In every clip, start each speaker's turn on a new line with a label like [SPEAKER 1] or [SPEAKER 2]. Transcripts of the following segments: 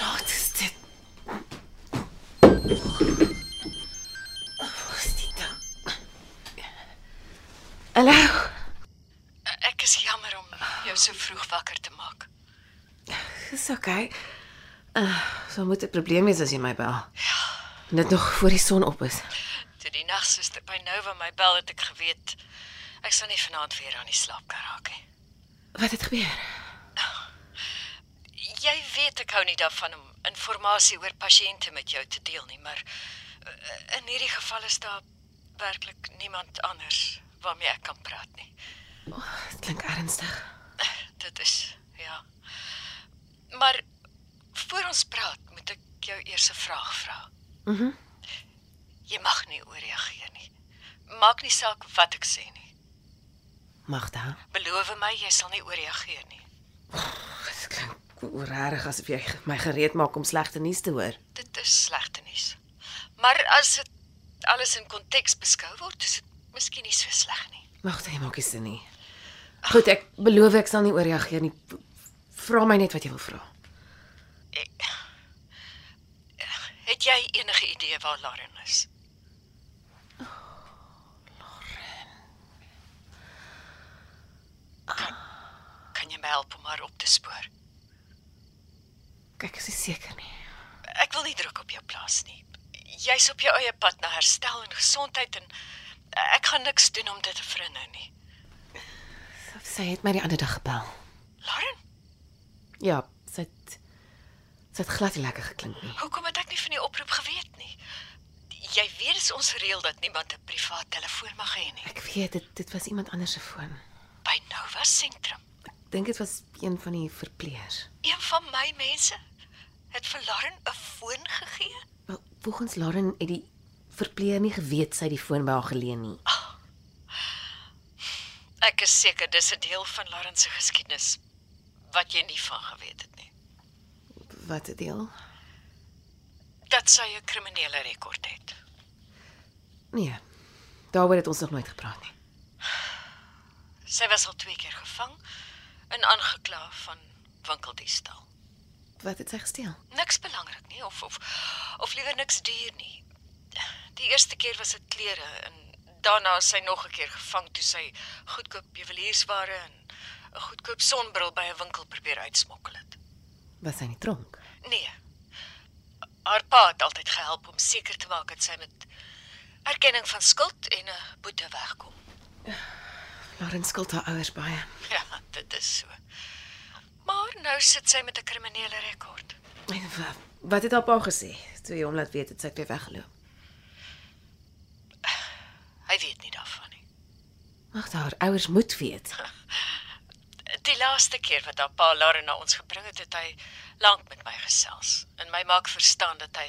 [SPEAKER 1] Laat is dit. Waar is die ding? Hallo.
[SPEAKER 2] Ek is jammer om jou so vroeg wakker te maak.
[SPEAKER 1] Dis oké. Uh, so moet 'n probleem wees as jy my bel. Ja. Net nog voor die son op is.
[SPEAKER 2] Toe die nagsuster by Nova my bel het ek geweet ek sal nie vanaand weer aan die slaap kan raak nie.
[SPEAKER 1] Wat het gebeur?
[SPEAKER 2] Jy weet ek hou nie daarvan om inligting oor pasiënte met jou te deel nie, maar eh, in hierdie geval is daar werklik niemand anders waarmee ek kan praat nie.
[SPEAKER 1] Dit klink ernstig.
[SPEAKER 2] Dit is ja. Maar voor ons praat, moet ek jou eers 'n vraag vra.
[SPEAKER 1] Mhm. Mm
[SPEAKER 2] Jy mag nie ooreageer nie. Maak nie saak wat ek sê nie.
[SPEAKER 1] Magda.
[SPEAKER 2] Beloof my jy sal nie ooreageer nie.
[SPEAKER 1] Dit klink rarig asof jy my gereed maak om slegte nuus te hoor.
[SPEAKER 2] Dit is slegte nuus. Maar as dit alles in konteks beskou word, is dit miskien nie so sleg nie.
[SPEAKER 1] Magda, jy maak nie sin nie. Goed, ek beloof ek sal nie ooreageer nie. Vra my net wat jy wil vra.
[SPEAKER 2] Ek, het jy enige idee waar Lauren is? Lauren. Kan, kan jy my help om haar op te spoor?
[SPEAKER 1] Kyk, ek is nie seker nie.
[SPEAKER 2] Ek wil nie druk op jou plaas nie. Jy's op jou eie pad na herstel en gesondheid en ek gaan niks doen om dit te verhinder nie.
[SPEAKER 1] Sy het my die ander dag gebel.
[SPEAKER 2] Lauren,
[SPEAKER 1] Ja, sy het sy het glad nie lekker geklink nie.
[SPEAKER 2] hoekom het ek nie van die oproep geweet nie? Jy weet is ons reël dat niemand 'n privaat telefoon mag hê nie.
[SPEAKER 1] Ek weet dit dit was iemand anders se foon.
[SPEAKER 2] By Nova Sentrum.
[SPEAKER 1] Ek dink dit was een van die verpleegers.
[SPEAKER 2] Een van my mense het vir Lauren 'n foon gegee.
[SPEAKER 1] Wel, volgens Lauren het die verpleeger nie geweet sy het die foon by haar geleen nie.
[SPEAKER 2] Ek is seker dis 'n deel van Lauren se geskiedenis wat jy nie van geweet het nie.
[SPEAKER 1] Wat 'n deel?
[SPEAKER 2] Dat sy 'n kriminele rekord het.
[SPEAKER 1] Nee. Daaroor het ons nog nooit gepraat nie.
[SPEAKER 2] Sy was al twee keer gevang en aangekla van winkeldiefstal.
[SPEAKER 1] Wat het sy gesteel?
[SPEAKER 2] Niks belangrik nie of of of liewer niks duur nie. Die eerste keer was dit klere en daarna is sy nog 'n keer gevang toe sy goedkoop juweliersware en 'n goedkoop sonbril by 'n winkel probeer uitsmokkel het.
[SPEAKER 1] Was sy in die tronk?
[SPEAKER 2] Nee. Haar pa het altyd gehelp om seker te maak dat sy met erkenning van skuld en 'n boete wegkom.
[SPEAKER 1] Lauren skuld haar ouers baie.
[SPEAKER 2] Ja, dit is so. Maar nou sit sy met 'n kriminele rekord.
[SPEAKER 1] En wa- wat het haar pa gesê toe jy hom laat weet het sy toe weggeloop?
[SPEAKER 2] Hy weet nie daarvan nie.
[SPEAKER 1] Mag haar ouers moet weet.
[SPEAKER 2] Die laaste keer wat haar pa Lauren na ons gebring het, het hy lank met my gesels en my maak verstaan dat hy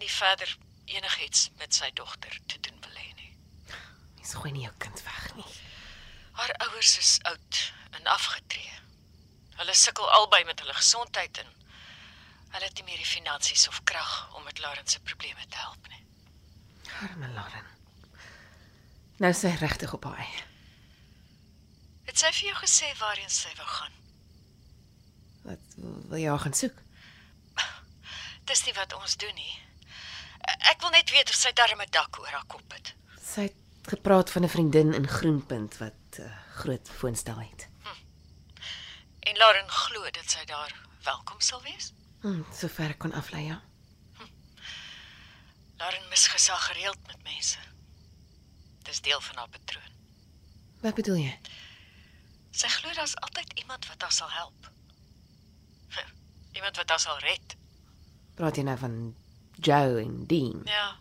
[SPEAKER 2] nie verder enigiets met sy dogter te doen wil hê nie.
[SPEAKER 1] Mens gooi nie jou kind weg nie.
[SPEAKER 2] Haar ouers is oud en afgetree. Hulle sukkel albei met hulle gesondheid en hulle het nie meer die finansies of krag om met Lauren se probleme te help nie.
[SPEAKER 1] Arme Lauren. Nou is sy regtig op haar eie.
[SPEAKER 2] Het sy vir jou gesê waarheen sy wou gaan?
[SPEAKER 1] Wat wil jy haar gaan soek?
[SPEAKER 2] Dis nie wat ons doen nie. Ek wil net weet of sy darm 'n dak oor haar kop het.
[SPEAKER 1] Sy het gepraat van 'n vriendin in Groenpunt wat uh, groot foonstel het.
[SPEAKER 2] En Lauren glo dat sy daar welkom sal wees.
[SPEAKER 1] Hm, sover ek kon aflei, ja.
[SPEAKER 2] Lauren misgesag gereeld met mense. Dis deel van haar patroon.
[SPEAKER 1] Wat bedoel jy?
[SPEAKER 2] Sy glo daar's altyd iemand wat haar sal help. Iemand wat haar sal red.
[SPEAKER 1] Praat jy nou van Joe en Dean?
[SPEAKER 2] Ja.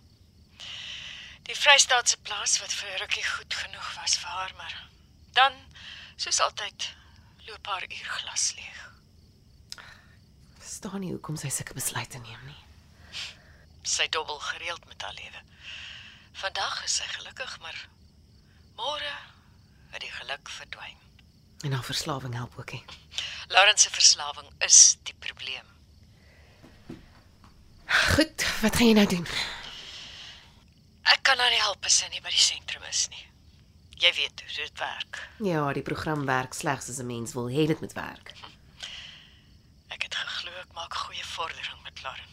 [SPEAKER 2] Die Vrystaatse plaas wat vir rukkie goed genoeg was vir haar, maar dan soos altyd loop haar uurglas leeg.
[SPEAKER 1] Verstaan nie hoekom sy sulke besluite neem nie.
[SPEAKER 2] Sy dobbel gereeld met haar lewe. Vandag is sy gelukkig, maar môre het die geluk verdwyn.
[SPEAKER 1] En haar verslawing help ook nie.
[SPEAKER 2] Lawrence se verslawing is die probleem.
[SPEAKER 1] Goed, wat gaan jy nou doen?
[SPEAKER 2] Ek kan haar nie help as sy nie by die sentrum is nie. Jy weet hoe dit werk.
[SPEAKER 1] Ja, die program werk slegs as 'n mens wil hê dit moet werk.
[SPEAKER 2] Ek het geglo ek maak goeie vordering met Lauren.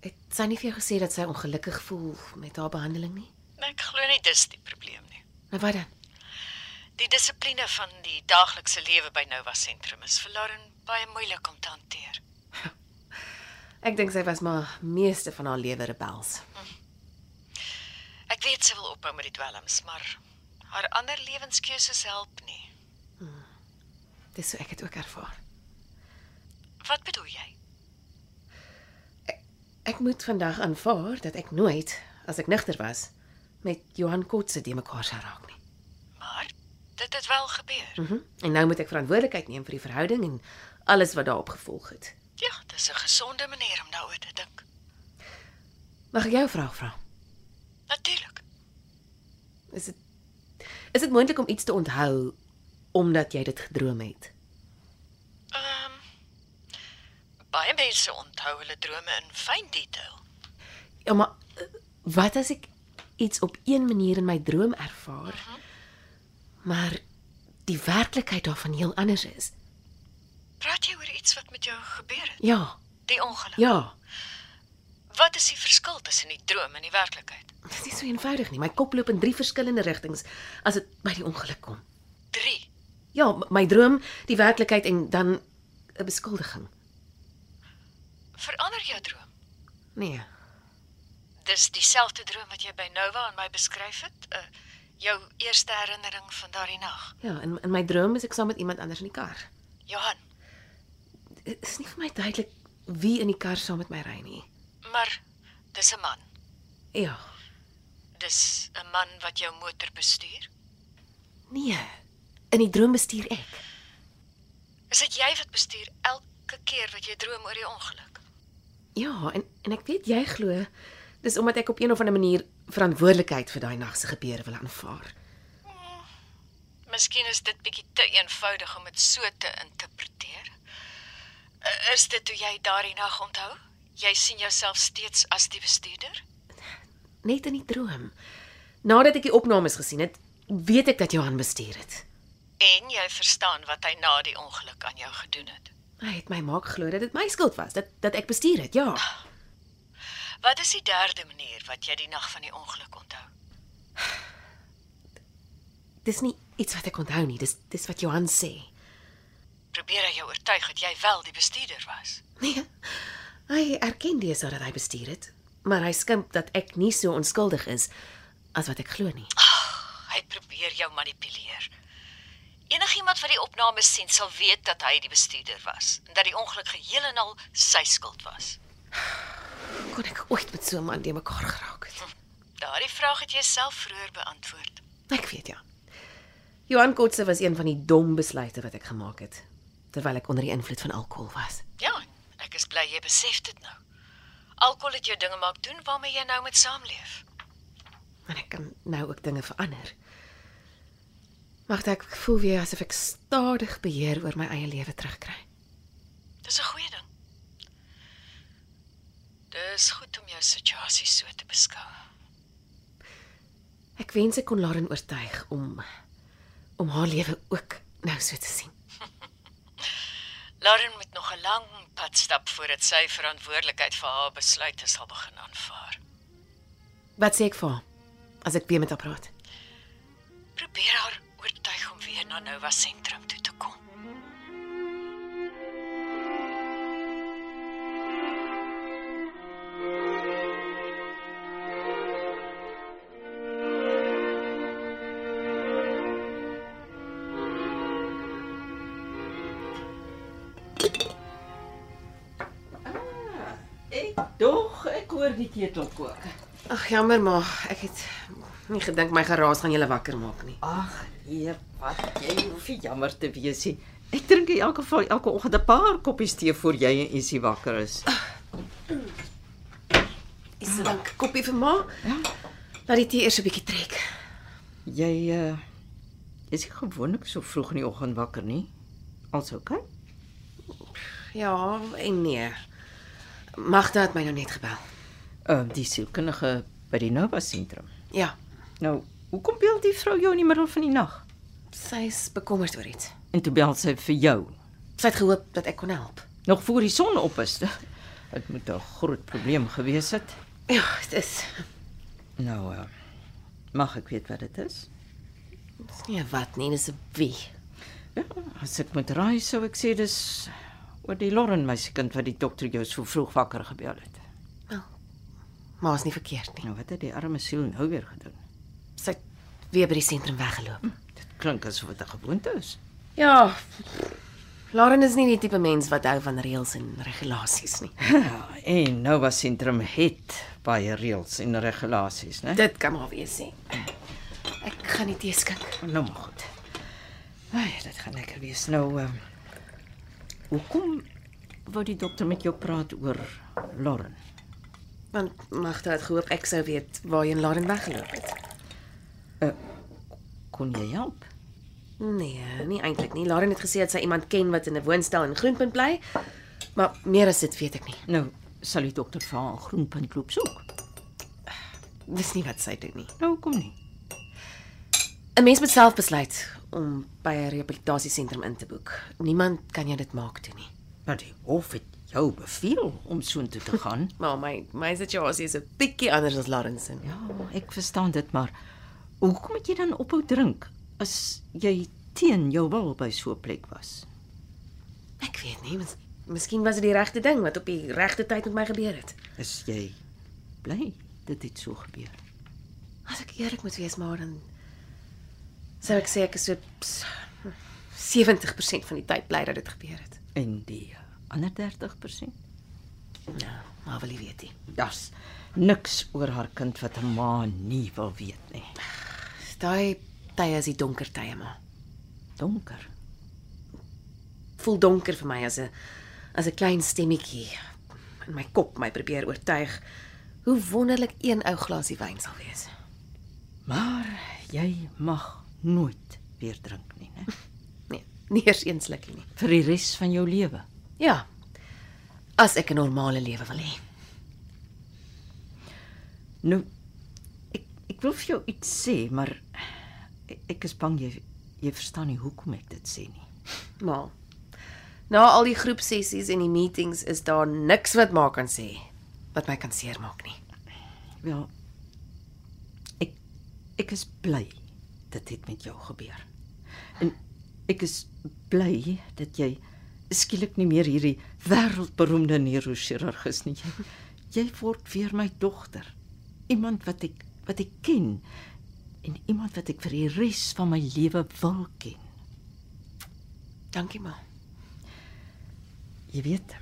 [SPEAKER 1] Het sy nie vir jou gesê dat sy ongelukkig voel met haar behandeling nie?
[SPEAKER 2] Maar ek glo nie dis die probleem nie.
[SPEAKER 1] Nou wat dan?
[SPEAKER 2] Die dissipline van die daaglikse lewe by Nova sentrum is vir Lauren baie moeilik om te hanteer.
[SPEAKER 1] Ek dink sy was maar meeste van haar lewe rebels.
[SPEAKER 2] Ek weet sy wil ophou met die dwelms, maar haar ander lewenskeuses help nie.
[SPEAKER 1] Dis so ek het ook ervaar.
[SPEAKER 2] Wat bedoel jy?
[SPEAKER 1] Ek moet vandag aanvaar dat ek nooit, as ek nigter was, met Johan Kotse de mekaar sou raak nie.
[SPEAKER 2] Maar dit het wel gebeur.
[SPEAKER 1] Mhm. Mm en nou moet ek verantwoordelikheid neem vir die verhouding en alles wat daarop gevolg het.
[SPEAKER 2] Ja, dis 'n gesonde manier om daaroor te dink.
[SPEAKER 1] Mag ek jou 'n vraag vra?
[SPEAKER 2] Natuurlik.
[SPEAKER 1] Is dit is dit moontlik om iets te onthou omdat jy dit gedroom het?
[SPEAKER 2] Ehm baie mense onthou hulle drome in fyn detail.
[SPEAKER 1] Ja, maar eh, wat as ek iets op een manier in my droom ervaar, maar die werklikheid daarvan heel anders is?
[SPEAKER 2] Praat jy oor iets wat met jou gebeur het?
[SPEAKER 1] Ja,
[SPEAKER 2] Die ongeluk.
[SPEAKER 1] ja.
[SPEAKER 2] Wat is die verskil tussen die droom en die werklikheid?
[SPEAKER 1] Dit is nie so eenvoudig nie. My kop loop in drie verskillende rigtings as dit by die ongeluk kom.
[SPEAKER 2] 3.
[SPEAKER 1] Ja, m- my droom, die werklikheid en dan 'n beskuldiging.
[SPEAKER 2] Verander jou droom.
[SPEAKER 1] Nee.
[SPEAKER 2] Dis dieselfde droom wat jy by Nova aan my beskryf het, uh, jou eerste herinnering van daardie nag.
[SPEAKER 1] Ja, in in my droom is ek saam met iemand anders in die kar.
[SPEAKER 2] Johan,
[SPEAKER 1] Dit is nie vir my duidelik wie in die kar saam met my ry nie.
[SPEAKER 2] maar dis 'n man.
[SPEAKER 1] Ja.
[SPEAKER 2] Dis 'n man wat jou motor bestuur.
[SPEAKER 1] Nee. In die droom bestuur ek.
[SPEAKER 2] Is dit jy wat bestuur elke keer wat jy droom oor die ongeluk?
[SPEAKER 1] Ja, en en ek weet jy glo dis omdat ek op een of ander manier verantwoordelikheid vir daai nag se gebeure wil aanvaar.
[SPEAKER 2] Miskien is dit bietjie te eenvoudig om dit so te interpreteer. Uh, Is dit hoe jy daardie nag onthou? Jy sien jouself steeds as die bestuurder?
[SPEAKER 1] Net in die droom. Nadat ek die opnames gesien het, weet ek dat Johan bestuur het.
[SPEAKER 2] En jy verstaan wat hy na die ongeluk aan jou gedoen het.
[SPEAKER 1] Hy het my maak glo dat dit my skuld was, dat dat ek bestuur het. Ja.
[SPEAKER 2] Wat is die derde manier wat jy die nag van die ongeluk onthou?
[SPEAKER 1] Dis nie iets wat ek onthou nie. Dis dis wat Johan sê.
[SPEAKER 2] Probeer hy jou oortuig dat jy wel die bestuurder was?
[SPEAKER 1] Nee. Hy erken dis dat hy bestuur het, maar hy skimp dat ek nie so onskuldig is as wat ek glo nie.
[SPEAKER 2] Hy probeer jou manipuleer. Enigiemand wat die opnames sien sal weet dat hy die bestuurder was en dat die ongeluk geheel en al sy skuld was.
[SPEAKER 1] Kon ek ooit met so 'n man te mekaar geraak het?
[SPEAKER 2] Daardie vraag het jy self vroeër beantwoord.
[SPEAKER 1] Ek weet ja. Johan Kotse was een van die dom besluite wat ek gemaak het terwyl ek onder die invloed van alkohol was.
[SPEAKER 2] Ja, ek is bly jy besef dit nou. Alkohol het jou dinge maak doen waarmee jy nou moet saamleef.
[SPEAKER 1] En ek kan nou ook dinge verander. Mag ek voel weer asof ek stadig beheer oor my eie lewe terugkry.
[SPEAKER 2] Dis 'n goeie ding. Dis goed om jou situasie so te beskou.
[SPEAKER 1] Ek wens ek kon Lauren oortuig om om haar lewe ook nou so te sien.
[SPEAKER 2] Lauren moet nog 'n lang pad stap voordat sy verantwoordelikheid vir haar besluite sal begin aanvaar.
[SPEAKER 1] Wat sê ek vir haar as ek weer met haar praat?
[SPEAKER 2] Probeer haar oortuig om weer na Nova sentrum toe te kom.
[SPEAKER 3] Ek dog ek hoor die ketel kook.
[SPEAKER 1] Ag jammer maar, ek het nie gedink my geraas gaan julle wakker maak nie.
[SPEAKER 3] Ag, heer, wat jy hoef nie jammer te wees nie. Ek drink in elk geval elke oggend 'n paar koppies tee voor jy en Isie wakker is.
[SPEAKER 1] Is dit 'n koppie vir ma? Ja. Laat die tee eers 'n bietjie trek.
[SPEAKER 3] Jy uh is nie gewoonlik so vroeg in die oggend wakker nie. Al's okay?
[SPEAKER 1] Ja, en nee. Magda het my nou net gebel.
[SPEAKER 3] Ehm uh, die sielkundige by die Nova sentrum.
[SPEAKER 1] Ja,
[SPEAKER 3] Nou, hoekom bel die vrou jou in die middel van die nag?
[SPEAKER 1] sy's bekommerd oor iets.
[SPEAKER 3] En toe bel sy vir jou,
[SPEAKER 1] Sy het gehoop dat ek kon help.
[SPEAKER 3] nog voor die son op is. Dit moet 'n groot probleem gewees het.
[SPEAKER 1] Ja, dit is
[SPEAKER 3] Nou, uh, mag ek weet wat dit is?
[SPEAKER 1] dit is nie 'n Nee, wat nie, dis 'n wie.
[SPEAKER 3] Ja, as ek moet raai, sou ek sê dis oor die Lauren meisiekind wat die dokter jou so vroeg wakker gebel het.
[SPEAKER 1] Maar is nie verkeerd nie.
[SPEAKER 3] Nou, wat het die arme siel nou weer gedoen?
[SPEAKER 1] Sy het weer by die sentrum weggeloop.
[SPEAKER 3] Dit klink asof dit 'n gewoonte is.
[SPEAKER 1] Ja. Lauren is nie die tipe mens wat hou van reëls en regulasies nie.
[SPEAKER 3] Ja, en Nova sentrum het baie reëls en regulasies, né?
[SPEAKER 1] Dit kan maar wees sê. Ek gaan nie tee skink.
[SPEAKER 3] Nou maar goed. Ai, dit gaan lekker wees nou. Um, hoekom wou die dokter met jou praat oor Lauren?
[SPEAKER 1] Want Magda het gehoop ek sou weet waarheen Lauren weggeloop het.
[SPEAKER 3] Kon jy help?
[SPEAKER 1] Nee, nie eintlik nie. Lauren het gesê dat sy iemand ken wat in 'n woonstel in Groenpunt bly. Maar meer as dit weet ek nie.
[SPEAKER 3] Nou, sal die dokter vir haar groenpunt loop soek.
[SPEAKER 1] Dis nie wat sy doen nie.
[SPEAKER 3] Nou kom nie.
[SPEAKER 1] 'n Mens moet self besluit om by 'n rehabilitasiesentrum in te boek. Niemand kan jou dit maak toe nie.
[SPEAKER 3] Maar die hof het jou beveel om soontoe te gaan.
[SPEAKER 1] Maar my my situasie is 'n bietjie anders as Lauren se.
[SPEAKER 3] ja, ek verstaan dit, maar hoekom het jy dan ophou drink as jy teen jou wil by so 'n plek was?
[SPEAKER 1] Ek weet nie, mis, miskien was dit die regte ding wat op die regte tyd met my gebeur het.
[SPEAKER 3] Is jy bly dit het so gebeur?
[SPEAKER 1] As ek eerlik moet wees, maar dan sou ek sê ek is so ps- 70% van die tyd bly dat dit gebeur het.
[SPEAKER 3] En die ander 30%?
[SPEAKER 1] Nou, maar wil jy weet nie.
[SPEAKER 3] Daar's niks oor haar kind wat 'n ma nie wil weet nie.
[SPEAKER 1] Daai tye is die donker tye maar.
[SPEAKER 3] Donker.
[SPEAKER 1] Voel donker vir my as 'n as 'n klein stemmetjie in my kop my probeer oortuig hoe wonderlik een ou glasie wyn sal wees.
[SPEAKER 3] Maar jy mag nooit weer drink nie, né?
[SPEAKER 1] Nee, nie eers een slukkie nie.
[SPEAKER 3] Vir die res van jou lewe.
[SPEAKER 1] Ja. As ek 'n normale lewe wil hê.
[SPEAKER 3] Nou ek ek wil vir jou iets sê, maar ek- ek is bang jy jy verstaan nie hoekom ek dit sê nie.
[SPEAKER 1] Maar na al die groepsessies en die meetings is daar niks wat maak kan sê wat my kan seermaak nie.
[SPEAKER 3] Wel Ja, ek ek is bly dit het met jou gebeur. En ek is bly dat jy skielik nie meer hierdie wêreldberoemde neurochirurg is nie. Jy, jy word weer my dogter. Iemand wat ek wat ek ken en iemand wat ek vir die res van my lewe wil ken.
[SPEAKER 1] Dankie ma.
[SPEAKER 3] Jy weet,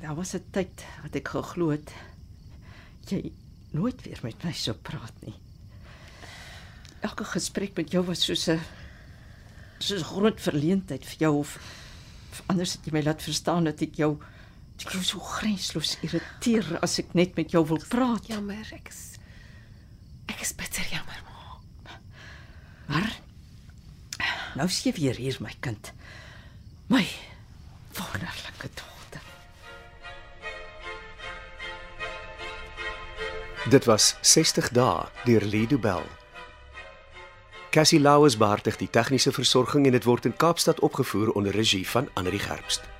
[SPEAKER 3] daar was 'n tyd wat ek geglo het jy nooit weer met my sou praat nie. Elke gesprek met jou was soos 'n soos 'n groot verleentheid vir jou of, of anders het jy my laat verstaan dat ek jou dat ek jou so grensloos irriteer as ek net met jou wil praat.
[SPEAKER 1] Jammer, ek is ek is bitter jammer ma.
[SPEAKER 3] Maar nou sien jy weer hier my kind. My wonderlike dogter.
[SPEAKER 4] Dit was 60 dae deur Lido Bell. Cassie Lauers beheer tig die tegniese versorging en dit word in Kaapstad opgevoer onder regie van Anri Gerbst.